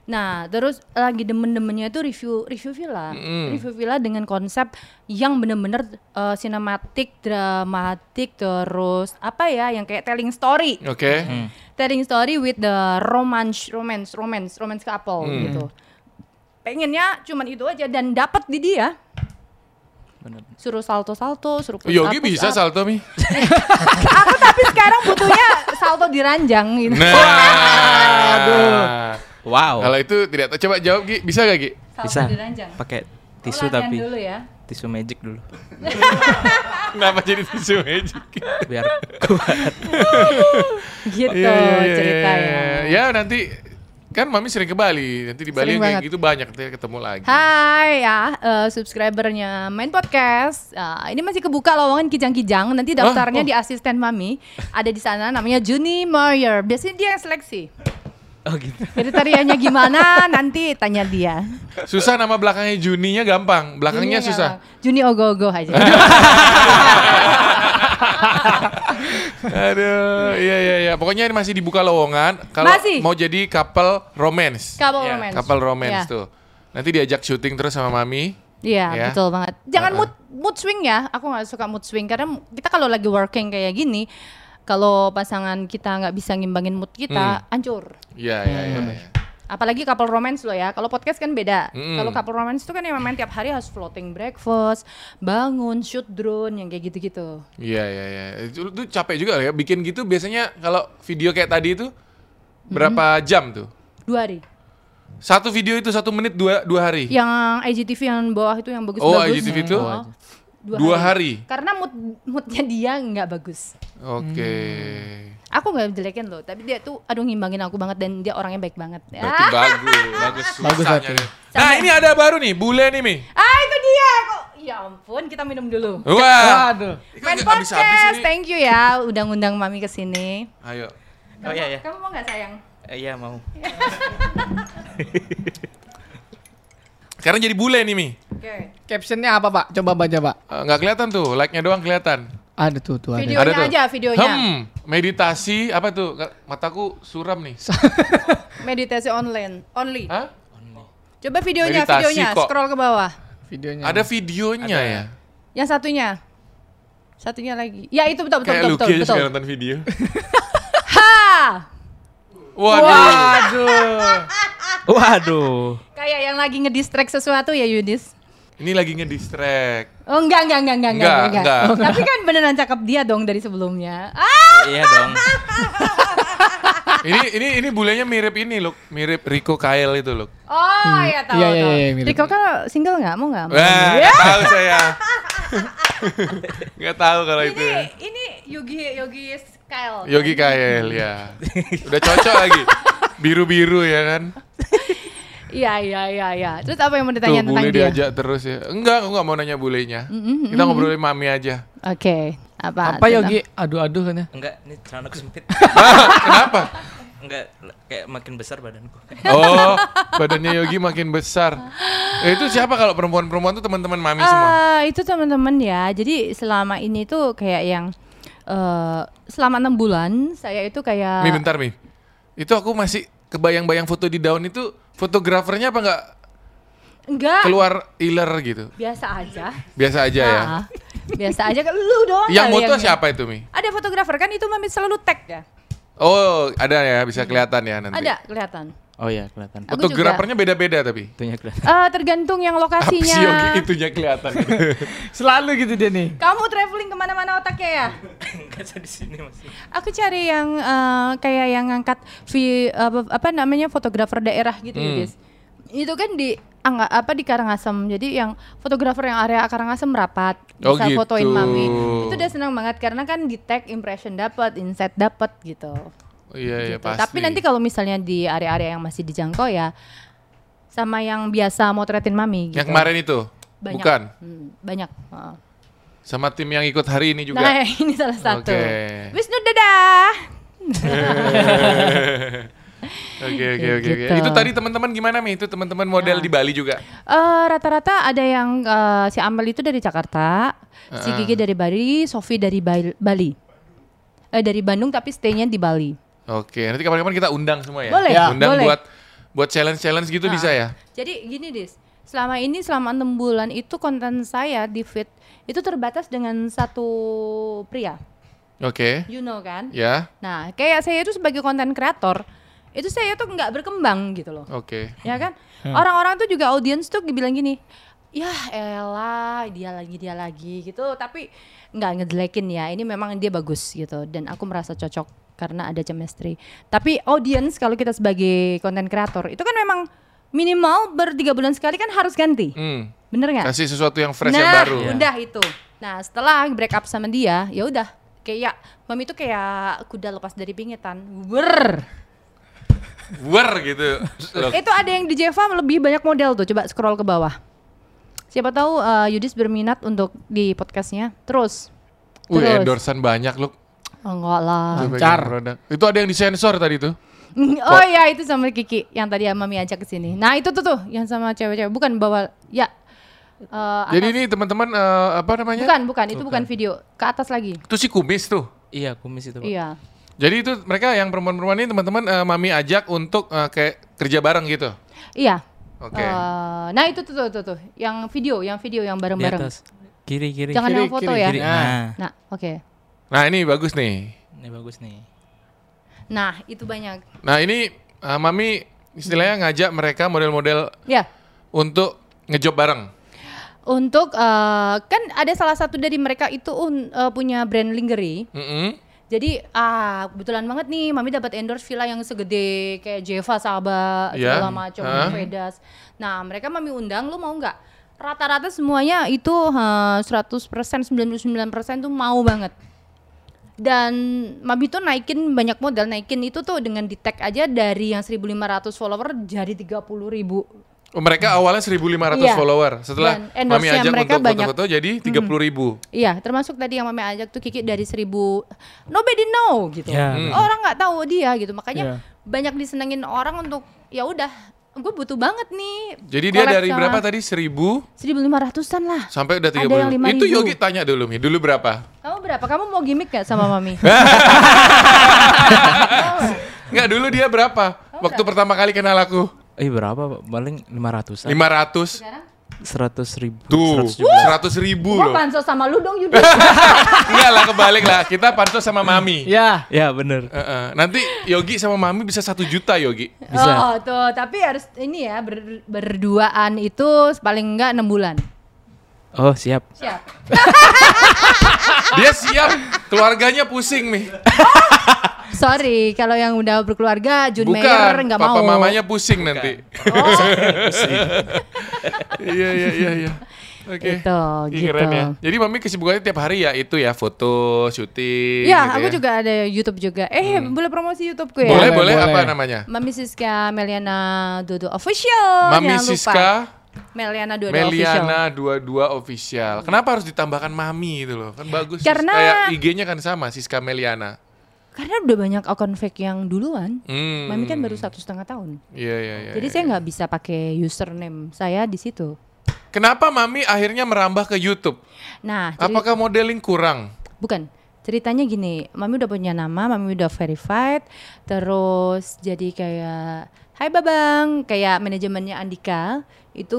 Speaker 1: Nah, terus lagi demen-demennya itu review review villa, review villa dengan konsep yang bener-bener eh, sinematik, dramatik, terus apa ya, yang kayak telling story,
Speaker 3: Oke.
Speaker 1: telling story with the romance, romance, romance, romance couple
Speaker 3: Hmm.
Speaker 1: gitu. Pengennya cuman itu aja dan dapat di dia
Speaker 4: Bener.
Speaker 1: suruh salto-salto, suruh push
Speaker 3: Oh, Yogi
Speaker 1: up, push
Speaker 3: bisa
Speaker 1: up.
Speaker 3: salto mi?
Speaker 1: aku tapi sekarang butuhnya salto di ranjang gitu.
Speaker 3: Nah,
Speaker 4: Wow.
Speaker 3: kalau itu tidak tahu. Coba jawab Gi, bisa gak Gi?
Speaker 1: Salto
Speaker 4: Bisa
Speaker 1: di ranjang.
Speaker 4: pakai
Speaker 1: Aku
Speaker 4: tisu
Speaker 1: latihan
Speaker 4: tapi
Speaker 1: dulu ya.
Speaker 4: tisu magic dulu
Speaker 3: Kenapa jadi tisu magic?
Speaker 4: biar kuat.
Speaker 1: Gitu
Speaker 3: Iya, iya, iya,
Speaker 1: cerita
Speaker 3: iya,
Speaker 1: ya.
Speaker 3: iya. Ya nanti kan mami sering ke Bali, nanti di Bali
Speaker 1: Sering
Speaker 3: yang kayak
Speaker 1: banget.
Speaker 3: gitu banyak nanti ketemu lagi.
Speaker 1: Hai ya eh, subscribernya main podcast. Ah, ini masih kebuka lowongan kijang-kijang. Nanti
Speaker 3: Oh,
Speaker 1: daftarnya di asisten mami. Ada di sana namanya Juni Moyer. Biasanya dia yang seleksi.
Speaker 4: Oh gitu.
Speaker 1: Kriterianya gimana nanti tanya dia.
Speaker 3: Susah nama belakangnya Juninya gampang,
Speaker 1: Juninya
Speaker 3: belakangnya susah.
Speaker 1: gampang. Juni ogo-ogo aja.
Speaker 3: Aduh, iya iya iya. Pokoknya ini masih dibuka lowongan kalau
Speaker 1: Masih.
Speaker 3: mau jadi couple romance.
Speaker 1: Couple
Speaker 3: Iya,
Speaker 1: romance.
Speaker 3: Couple romance
Speaker 1: Iya.
Speaker 3: tuh. Nanti diajak syuting terus sama mami.
Speaker 1: Iya
Speaker 3: Ya.
Speaker 1: betul banget. Jangan
Speaker 3: Uh-uh.
Speaker 1: mood mood swing ya. Aku nggak suka mood swing karena mu- kita kalau lagi working kayak gini, kalau pasangan kita nggak bisa ngimbangin mood
Speaker 3: Hmm.
Speaker 1: kita, hancur.
Speaker 3: Iya iya iya. iya.
Speaker 1: Apalagi couple romance loh ya. Kalau podcast kan beda.
Speaker 3: Mm-mm.
Speaker 1: Kalau couple romance itu kan yang main tiap hari harus floating breakfast, bangun, shoot drone, yang kayak gitu-gitu.
Speaker 3: Iya iya iya. Itu itu capek juga ya bikin gitu biasanya kalau video kayak tadi itu
Speaker 1: Mm-hmm.
Speaker 3: berapa jam tuh?
Speaker 1: Dua hari.
Speaker 3: Satu video itu satu menit dua dua hari.
Speaker 1: Yang IGTV yang bawah itu yang bagus-bagus.
Speaker 3: Oh, IGTV itu?
Speaker 1: Oh,
Speaker 3: Dua hari.
Speaker 1: Karena mood moodnya dia nggak bagus.
Speaker 3: Oke.
Speaker 1: Mm. Aku nggak jelekin loh, tapi dia tuh aduh ngimbangin aku banget dan dia orangnya baik banget. Ya.
Speaker 3: Berarti bagus, bagus,
Speaker 2: Bagus
Speaker 3: susah
Speaker 2: berarti.
Speaker 3: nyari. Nah ini ada baru nih, bule nih mi.
Speaker 1: Ah itu dia kok. Ya ampun, kita minum dulu.
Speaker 3: Wah,
Speaker 2: Waduh.
Speaker 1: Main
Speaker 3: nggak habis-habis
Speaker 1: podcast,
Speaker 3: ini.
Speaker 1: thank you ya udah ngundang mami ke sini.
Speaker 3: Ayo.
Speaker 4: Oh iya
Speaker 3: Ya.
Speaker 4: iya.
Speaker 1: Kamu mau nggak sayang?
Speaker 4: Eh, Iya mau.
Speaker 3: Sekarang jadi bule nih mi.
Speaker 1: Oke.
Speaker 2: Captionnya apa pak? Coba baca pak.
Speaker 3: Eh, Nggak kelihatan tuh, like-nya doang kelihatan.
Speaker 2: Ada tuh tuh ada.
Speaker 1: Video- Videonya aja, videonya.
Speaker 3: Hmm, meditasi apa tuh? Nggak, Mataku suram nih.
Speaker 1: Meditasi online, only.
Speaker 3: Hah?
Speaker 1: Coba videonya,
Speaker 3: Meditasi
Speaker 1: videonya,
Speaker 3: kok.
Speaker 1: scroll ke bawah.
Speaker 2: Videonya.
Speaker 3: Ada videonya ya?
Speaker 1: Yang satunya. Satunya lagi. Ya itu betul betul
Speaker 3: Kayak
Speaker 1: betul
Speaker 3: Lucky
Speaker 1: betul.
Speaker 3: aja
Speaker 1: betul.
Speaker 3: suka nonton video.
Speaker 1: Ha!
Speaker 3: Waduh.
Speaker 2: Waduh.
Speaker 4: Waduh.
Speaker 1: Kayak yang lagi ngedistract sesuatu ya Yudis.
Speaker 3: Ini lagi ngedistract.
Speaker 1: Oh enggak enggak enggak enggak enggak.
Speaker 3: Enggak, enggak.
Speaker 1: Tapi kan beneran cakep dia dong dari sebelumnya. Ah,
Speaker 4: Iya dong.
Speaker 3: ini ini ini bulenya mirip ini loh, mirip Rico Kyle itu loh.
Speaker 1: oh
Speaker 3: Hmm.
Speaker 1: ya tahu
Speaker 2: Iya, iya,
Speaker 1: tahu.
Speaker 2: iya, iya, mirip.
Speaker 1: Riko kan single nggak mau nggak? Mau.
Speaker 3: Wah,
Speaker 1: Ya.
Speaker 3: nggak tahu saya. Nggak tahu kalau itu.
Speaker 1: Ini
Speaker 3: ya.
Speaker 1: ini Yogi Yogi Kyle.
Speaker 3: Yogi Kyle ya. Udah cocok lagi. Biru-biru ya kan.
Speaker 1: Iya iya iya iya. Terus apa yang mau
Speaker 3: Tuh
Speaker 1: ditanya tentang
Speaker 3: bule
Speaker 1: dia?
Speaker 3: diajak terus ya. Enggak, aku nggak mau nanya bulenya. Kita ngobrolin mami aja.
Speaker 1: Oke. Apa?
Speaker 2: Apa
Speaker 1: tentang-
Speaker 2: Yogi? Aduh-aduh kan ya.
Speaker 4: Enggak, ini celana sempit.
Speaker 3: Kenapa?
Speaker 4: Enggak, kayak makin besar badanku.
Speaker 3: Oh, badannya Yogi makin besar. Eh, itu siapa kalau perempuan-perempuan tuh teman-teman mami semua?
Speaker 1: Ah, itu teman-teman ya. Jadi selama ini tuh kayak yang eh selama enam bulan saya itu kayak
Speaker 3: Mi bentar Mi. Itu aku masih kebayang-bayang foto di daun itu fotografernya apa nggak
Speaker 1: enggak
Speaker 3: keluar iler gitu.
Speaker 1: biasa aja.
Speaker 3: Biasa aja ya.
Speaker 1: Ah, biasa aja kan lu doang.
Speaker 3: Yang
Speaker 1: kali
Speaker 3: moto
Speaker 1: yang-
Speaker 3: siapa itu Mi?
Speaker 1: Ada fotografer kan itu Mamit selalu tag ya.
Speaker 3: Oh, ada ya bisa kelihatan ya nanti.
Speaker 1: Ada kelihatan.
Speaker 4: Oh iya, kelihatan.
Speaker 1: Aku
Speaker 3: Fotografernya beda-beda tapi.
Speaker 4: Itunya kelihatan.
Speaker 1: Eh, tergantung yang
Speaker 3: Apa sih Yogi
Speaker 1: lokasinya.
Speaker 3: itunya kelihatan?
Speaker 2: Selalu gitu dia nih.
Speaker 1: Kamu traveling kemana-mana otaknya ya?
Speaker 4: Enggak saya di sini masih.
Speaker 1: Aku cari yang eh, kayak yang ngangkat vi, apa, apa namanya fotografer daerah gitu
Speaker 3: Hmm.
Speaker 1: ya guys. Itu kan di angga, apa di Karangasem. Jadi yang fotografer yang area Karangasem rapat bisa
Speaker 3: Oh, gitu.
Speaker 1: fotoin mami. Itu udah senang banget karena kan di tag impression dapat, insight dapat gitu.
Speaker 3: Oh, iya iya
Speaker 1: gitu.
Speaker 3: pasti.
Speaker 1: Tapi nanti kalau misalnya di area-area yang masih dijangkau ya sama yang biasa motretin mami gitu.
Speaker 3: yang kemarin itu
Speaker 1: banyak.
Speaker 3: bukan
Speaker 1: Hmm, banyak. Heeh.
Speaker 3: sama tim yang ikut hari ini juga.
Speaker 1: Nah, ini salah satu.
Speaker 3: Oke.
Speaker 1: Wisnu dadah.
Speaker 3: Oke oke
Speaker 1: Ya,
Speaker 3: oke oke.
Speaker 1: gitu. Nah.
Speaker 3: Itu tadi teman-teman gimana Mi? Itu teman-teman model di Bali juga.
Speaker 1: Eh, rata-rata ada yang eh, si Amel itu dari Jakarta, si Gigi dari Bali, Sofi dari Bal- Bali. Eh dari Bandung tapi stay-nya di Bali.
Speaker 3: Oke, nanti kapan-kapan kita undang semua ya.
Speaker 1: Boleh, Ya.
Speaker 3: Undang
Speaker 1: boleh. Nah.
Speaker 3: buat buat challenge-challenge gitu bisa ya.
Speaker 1: Jadi gini Dis, selama ini selama enam bulan itu konten saya di feed itu terbatas dengan satu pria.
Speaker 3: Oke.
Speaker 1: You know kan?
Speaker 3: Ya.
Speaker 1: Nah, kayak saya itu sebagai konten kreator, itu saya tuh nggak berkembang gitu loh.
Speaker 3: Oke.
Speaker 1: Ya kan? Orang-orang tuh juga audiens tuh bilang gini, "Yah, elah, dia lagi dia lagi." gitu, tapi nggak ngejelekin ya. Ini memang dia bagus gitu dan aku merasa cocok karena ada chemistry. Tapi audiens kalau kita sebagai konten kreator itu kan memang minimal ber tiga bulan sekali kan harus ganti.
Speaker 3: Hmm.
Speaker 1: Bener nggak?
Speaker 3: Kasih sesuatu yang fresh
Speaker 1: nah,
Speaker 3: yang baru.
Speaker 1: udah itu. Nah, setelah break up sama dia, ya udah kayak mami itu kayak kuda lepas dari pingitan. Wer.
Speaker 3: Wer gitu. Loh,
Speaker 1: Itu ada yang di Jeva lebih banyak model tuh. Coba scroll ke bawah. Siapa tahu uh, Yudis berminat untuk di podcastnya. Terus.
Speaker 3: Wih,
Speaker 1: Terus.
Speaker 3: endorsean banyak loh.
Speaker 1: Oh, enggak lah.
Speaker 2: Lancar.
Speaker 3: Itu ada yang disensor tadi tuh.
Speaker 1: Oh iya itu sama Kiki yang tadi mami ajak ke sini. Nah, itu tuh tuh yang sama cewek-cewek bukan bawa ya eh,
Speaker 3: Jadi
Speaker 1: atas.
Speaker 3: ini teman-teman eh, apa namanya?
Speaker 1: bukan, bukan, itu bukan video. Ke atas lagi.
Speaker 3: Itu si kumis tuh.
Speaker 4: Iya, kumis itu. Pak.
Speaker 1: Iya.
Speaker 3: Jadi itu mereka yang perempuan-perempuan ini teman-teman eh, mami ajak untuk eh, kayak kerja bareng gitu.
Speaker 1: Iya.
Speaker 3: Oke.
Speaker 1: Eh, nah itu tuh, tuh tuh tuh yang video, yang video yang
Speaker 4: Di
Speaker 1: bareng-bareng.
Speaker 4: atas. Kiri, kiri.
Speaker 1: Jangan
Speaker 2: Kiri,
Speaker 1: yang foto
Speaker 2: kiri,
Speaker 1: ya.
Speaker 4: kiri. Nah,
Speaker 1: Nah, oke.
Speaker 3: Nah, ini bagus nih.
Speaker 4: ini bagus nih.
Speaker 1: Nah, itu banyak.
Speaker 3: Nah, ini eh, mami istilahnya ngajak mereka model-model
Speaker 1: Ya.
Speaker 3: untuk ngejob bareng.
Speaker 1: Untuk eh, kan ada salah satu dari mereka itu un- eh, punya brand lingerie.
Speaker 3: Mm-mm.
Speaker 1: Jadi ah kebetulan banget nih Mami dapat endorse villa yang segede kayak Jeva Saba
Speaker 3: Iya.
Speaker 1: segala macam
Speaker 3: Heeh.
Speaker 1: Vedas. Nah, mereka Mami undang lu mau nggak? Rata-rata semuanya itu eh, 100% 99% tuh mau banget. Dan Mami tuh naikin banyak modal, naikin itu tuh dengan di tag aja dari yang 1500 follower jadi 30.000 ribu.
Speaker 3: Oh, Mereka awalnya 1.500
Speaker 1: Hmm. Iya.
Speaker 3: follower. Setelah
Speaker 1: Dan
Speaker 3: mami
Speaker 1: endorse-nya
Speaker 3: ajak
Speaker 1: mereka
Speaker 3: untuk
Speaker 1: banyak. Hmm.
Speaker 3: foto-foto jadi 30.000.
Speaker 1: Iya, termasuk tadi yang Mami ajak tuh Kiki dari 1000 nobody know gitu.
Speaker 4: Ya.
Speaker 3: Hmm.
Speaker 1: orang nggak tahu dia gitu
Speaker 2: Iya.
Speaker 1: makanya banyak disenengin orang untuk ya udah gue butuh banget nih
Speaker 3: Jadi dia dari berapa tadi? 1.000
Speaker 1: 1500-an lah
Speaker 3: sampai udah
Speaker 1: Ada yang
Speaker 3: 30.000. Itu
Speaker 1: 5.000.
Speaker 3: Yogi tanya dulu Mi, dulu berapa?
Speaker 1: kamu berapa kamu mau gimmick gak sama mami
Speaker 3: Enggak, dulu dia berapa?
Speaker 1: Oh,
Speaker 3: Waktu pertama kali kenal aku.
Speaker 4: Eh berapa Pak? Paling 500 an
Speaker 3: 500.
Speaker 1: sekarang
Speaker 4: 100 ribu
Speaker 3: Tuh,
Speaker 4: 100 juta.
Speaker 3: 100 ribu
Speaker 1: gue
Speaker 3: loh.
Speaker 1: pansos sama lu dong Yudi
Speaker 3: Enggak lah, kebalik lah. Kita pansos sama Mami.
Speaker 2: Ya.
Speaker 4: Ya bener
Speaker 3: Heeh. Nanti Yogi sama Mami bisa satu juta Yogi.
Speaker 4: Bisa.
Speaker 1: oh tuh tapi harus ini ya ber- berduaan itu paling enggak enam bulan
Speaker 4: Oh siap.
Speaker 1: Siap.
Speaker 3: Dia siap, keluarganya pusing nih.
Speaker 1: Sorry, kalau yang udah berkeluarga, Jun Mayer
Speaker 3: Bukan,
Speaker 1: nggak
Speaker 3: papa
Speaker 1: mau. Oh.
Speaker 3: mamanya pusing nanti. Iya, iya, iya, iya. Oke.
Speaker 1: Gitu,
Speaker 3: Ih, Keren
Speaker 1: gitu.
Speaker 3: ya. Jadi mami kesibukannya tiap hari ya itu ya foto, syuting.
Speaker 1: Ya,
Speaker 3: gitu Hmm.
Speaker 1: aku juga ada YouTube juga. Eh, boleh promosi YouTubeku ya?
Speaker 3: Boleh,
Speaker 2: Boleh,
Speaker 3: boleh, apa
Speaker 2: boleh.
Speaker 3: namanya?
Speaker 1: Mami Siska Meliana Dodo Official. Oh,
Speaker 3: Mami
Speaker 1: jangan lupa.
Speaker 3: Siska
Speaker 1: Meliana Dodo Official.
Speaker 3: Meliana 22 official. Kenapa harus ditambahkan mami itu loh? Kan bagus.
Speaker 1: Karena-
Speaker 3: Kayak IG-nya kan sama Siska Meliana.
Speaker 1: Karena udah banyak akun fake yang duluan.
Speaker 3: Hmm.
Speaker 1: Mami kan baru satu setengah tahun.
Speaker 3: Iya, iya, iya.
Speaker 1: Jadi
Speaker 3: iya.
Speaker 1: saya nggak bisa pakai username saya di situ.
Speaker 3: Kenapa mami akhirnya merambah ke YouTube?
Speaker 1: Nah, jadi-
Speaker 3: Apakah modeling kurang?
Speaker 1: bukan ceritanya gini, mami udah punya nama, mami udah verified, terus jadi kayak Hai Babang, kayak manajemennya Andika itu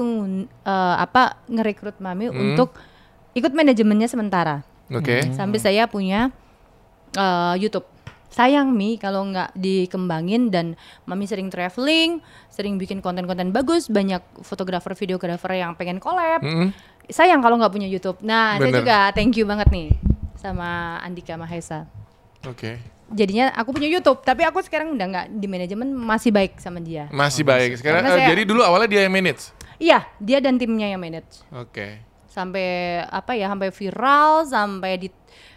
Speaker 1: eh, apa ngerekrut mami untuk ikut manajemennya sementara
Speaker 3: Oke.
Speaker 1: sampai saya punya eh, YouTube. Sayang Mi kalau nggak dikembangin dan Mami sering traveling, sering bikin konten-konten bagus, banyak fotografer, videografer yang pengen collab.
Speaker 3: Mm-mm.
Speaker 1: Sayang kalau nggak punya YouTube. Nah, saya
Speaker 3: Bener.
Speaker 1: juga thank you banget nih sama Andika Mahesa.
Speaker 3: Oke.
Speaker 1: Jadinya aku punya YouTube, tapi aku sekarang udah nggak di manajemen masih baik sama dia.
Speaker 3: Masih baik. Sekarang
Speaker 1: Karena
Speaker 3: eh,
Speaker 1: saya-
Speaker 3: jadi dulu awalnya dia yang manage.
Speaker 1: Iya, dia dan timnya yang manage.
Speaker 3: Oke.
Speaker 1: sampai apa ya sampai viral sampai di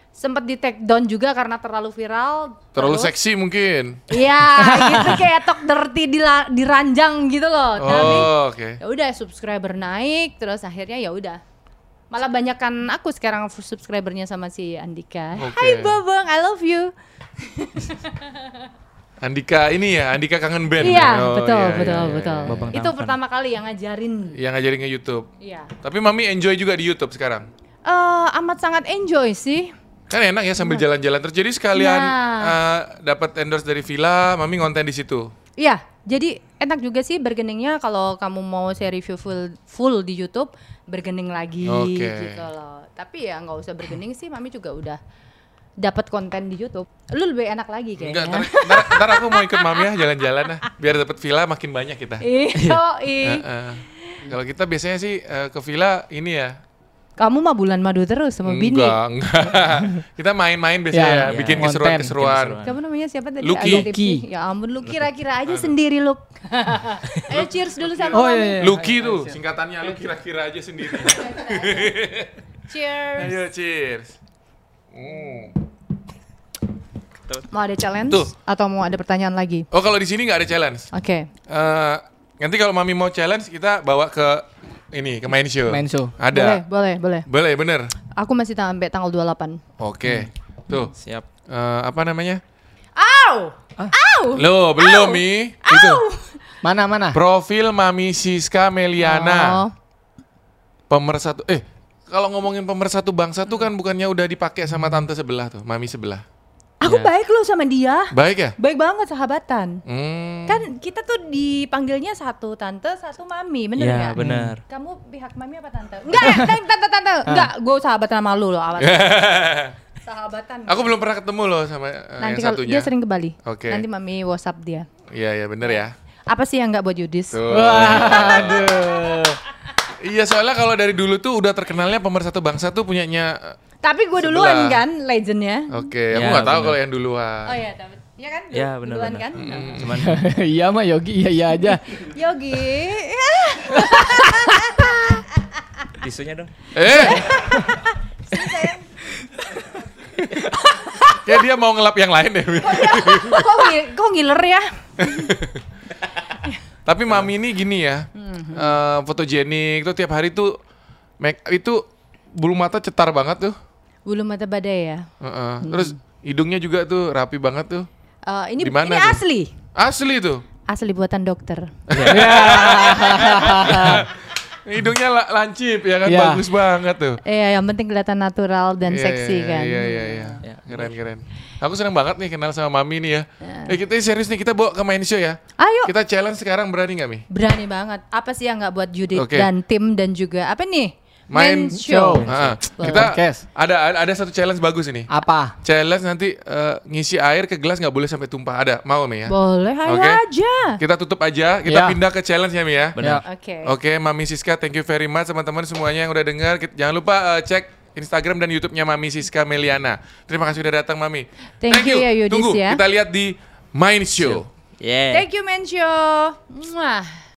Speaker 1: sempat di take down juga karena terlalu viral
Speaker 3: Terlalu
Speaker 1: terus-
Speaker 3: seksi mungkin.
Speaker 1: Iya, gitu kayak tok dirty di la- diranjang gitu loh. Tapi
Speaker 3: Oh, oke.
Speaker 1: ya udah subscriber naik terus akhirnya ya udah. Malah banyakan aku sekarang subscribernya sama si Andika.
Speaker 3: Oke.
Speaker 1: Hai Babang, I love you.
Speaker 3: Andika ini ya, Andika kangen band.
Speaker 1: Iya,
Speaker 3: Oh,
Speaker 1: betul,
Speaker 3: iya, iya,
Speaker 1: betul,
Speaker 3: iya,
Speaker 1: betul.
Speaker 3: iya.
Speaker 4: Babang
Speaker 1: Itu
Speaker 4: Tampan.
Speaker 1: pertama kali yang ngajarin.
Speaker 3: Yang ngajarin ke YouTube.
Speaker 1: Iya.
Speaker 3: Tapi mami enjoy juga di YouTube sekarang.
Speaker 1: Eh, amat sangat enjoy sih.
Speaker 3: Kan enak ya
Speaker 1: Iya.
Speaker 3: sambil jalan-jalan terus. Jadi sekalian
Speaker 1: Nah.
Speaker 3: eh, dapat endorse dari Villa, mami ngonten di situ.
Speaker 1: Iya, jadi enak juga sih bergeningnya kalau kamu mau saya review full full di YouTube bergening lagi
Speaker 3: Oke.
Speaker 1: gitu loh. Tapi ya nggak usah bergening sih, mami juga udah dapat konten di YouTube. Lu lebih enak lagi
Speaker 3: Enggak,
Speaker 1: kayaknya.
Speaker 3: ntar, ntar, ntar aku mau ikut mami ya jalan-jalan lah. Biar dapat Villa makin banyak kita.
Speaker 1: Iya, ih.
Speaker 3: Heeh. Kalau kita biasanya sih eh, ke Villa ini ya.
Speaker 1: Kamu mah bulan madu terus sama bini.
Speaker 3: Enggak, enggak. kita main-main
Speaker 2: Ya,
Speaker 3: biasanya ya,
Speaker 2: ya.
Speaker 3: bikin
Speaker 2: Konten,
Speaker 3: keseruan-keseruan.
Speaker 4: bikin keseruan.
Speaker 1: Kamu namanya siapa tadi?
Speaker 3: Lucky.
Speaker 1: Agak tipis.
Speaker 2: Lucky.
Speaker 1: Ya ampun, lu kira-kira aja sendiri lu. Ayo cheers dulu sama
Speaker 2: Oh
Speaker 1: mami.
Speaker 2: iya. iya.
Speaker 3: Lucky tuh singkatannya lu kira-kira aja sendiri.
Speaker 1: Cheers.
Speaker 3: Ayo cheers. Hmm.
Speaker 1: Mau ada challenge
Speaker 3: Tuh.
Speaker 1: atau mau ada pertanyaan lagi?
Speaker 3: Oh kalau di sini nggak ada challenge.
Speaker 1: Oke.
Speaker 3: Eh, nanti kalau mami mau challenge kita bawa ke ini ke main show.
Speaker 2: Main show.
Speaker 3: Ada.
Speaker 1: Boleh, boleh, boleh.
Speaker 3: Boleh, bener.
Speaker 1: Aku masih sampai tanggal 28.
Speaker 3: Oke. Tuh
Speaker 4: Siap.
Speaker 3: eh, apa namanya?
Speaker 1: Au! Au!
Speaker 3: Lo belum mi? Itu
Speaker 2: Mana mana?
Speaker 3: profil mami Siska Meliana
Speaker 1: Oh.
Speaker 3: pemersatu. Eh kalau ngomongin pemersatu bangsa tuh kan bukannya udah dipakai sama tante sebelah tuh, mami sebelah.
Speaker 1: Aku
Speaker 4: Iya.
Speaker 1: baik loh sama dia.
Speaker 3: Baik ya?
Speaker 1: Baik banget sahabatan.
Speaker 3: Hmm.
Speaker 1: Kan kita tuh dipanggilnya satu tante, satu mami, bener
Speaker 4: Iya,
Speaker 1: nggak?
Speaker 4: benar.
Speaker 1: Kamu pihak mami apa tante? Ah. Enggak, eh, tante, tante, tante. Enggak, gue sahabatan sama lu loh awalnya. sahabatan.
Speaker 3: Aku belum pernah ketemu loh sama eh,
Speaker 1: Nanti
Speaker 3: yang
Speaker 1: kalau
Speaker 3: satunya.
Speaker 1: dia sering ke Bali.
Speaker 3: Oke.
Speaker 1: Nanti mami WhatsApp dia.
Speaker 3: Iya, iya bener ya.
Speaker 1: Apa sih yang nggak buat Yudis?
Speaker 3: Tuh.
Speaker 2: Waduh.
Speaker 3: Iya soalnya kalau dari dulu tuh udah terkenalnya pemersatu bangsa tuh punyanya
Speaker 1: Tapi gue duluan
Speaker 3: Sebelah. Oh.
Speaker 1: kan legendnya.
Speaker 3: Oke, aku
Speaker 4: Ya,
Speaker 3: nggak tahu
Speaker 4: bener.
Speaker 3: kalau yang duluan.
Speaker 1: Oh iya, tapi Iya kan?
Speaker 4: Iya,
Speaker 1: Du-
Speaker 4: benar,
Speaker 1: Duluan
Speaker 4: benar.
Speaker 1: kan?
Speaker 4: Cuman
Speaker 2: Iya mah Yogi iya iya aja.
Speaker 1: Yogi.
Speaker 4: tisunya dong.
Speaker 3: Eh. ya dia mau ngelap yang lain deh.
Speaker 1: kok, ngil- kok ngiler ya?
Speaker 3: Tapi mami ini gini ya,
Speaker 1: Mhm.
Speaker 3: eh, fotogenik tuh tiap hari tuh make itu bulu mata cetar banget tuh.
Speaker 1: Bulu mata badai ya.
Speaker 3: Heeh. Terus hidungnya juga tuh rapi banget tuh.
Speaker 1: Eh, ini
Speaker 3: Di mana
Speaker 1: ini
Speaker 3: tuh?
Speaker 1: asli.
Speaker 3: Asli tuh.
Speaker 1: Asli buatan dokter.
Speaker 3: Hidungnya la- lancip ya kan
Speaker 2: Ya.
Speaker 3: bagus banget tuh.
Speaker 1: Iya, yang penting kelihatan natural Iya. dan
Speaker 3: Iya,
Speaker 1: seksi
Speaker 3: iya,
Speaker 1: kan.
Speaker 3: Iya iya iya.
Speaker 4: Ya.
Speaker 3: Keren keren. Aku seneng banget nih kenal sama Mami nih ya.
Speaker 1: Iya.
Speaker 3: Eh kita serius nih kita bawa ke main show ya.
Speaker 1: Ayo,
Speaker 3: Kita challenge sekarang berani nggak Mi?
Speaker 1: berani banget. Apa sih yang nggak buat Judit
Speaker 3: Oke.
Speaker 1: dan tim dan juga apa nih? Main
Speaker 3: main
Speaker 1: show.
Speaker 3: Ah, kita
Speaker 2: Podcast.
Speaker 3: ada ada ada satu challenge bagus ini.
Speaker 2: Apa?
Speaker 3: Challenge nanti eh, ngisi air ke gelas nggak boleh sampai tumpah. Ada mau Mi ya?
Speaker 1: Boleh Iya. aja.
Speaker 3: Oke.
Speaker 1: aja.
Speaker 3: Kita tutup aja.
Speaker 2: Ya.
Speaker 3: Kita pindah ke challenge ya Mi ya.
Speaker 4: Benar.
Speaker 2: Ya.
Speaker 1: Oke.
Speaker 3: Oke, Mami Siska, thank you very much teman-teman semuanya yang udah dengar. Kita- Jangan lupa eh, cek Instagram dan YouTube-nya Mami Siska Meliana. Terima kasih udah datang Mami.
Speaker 1: Thank you ya, Yudis,
Speaker 3: Tunggu
Speaker 1: ya.
Speaker 3: kita lihat di Main Show.
Speaker 4: Yeah.
Speaker 1: Thank you Mencio. Mwah.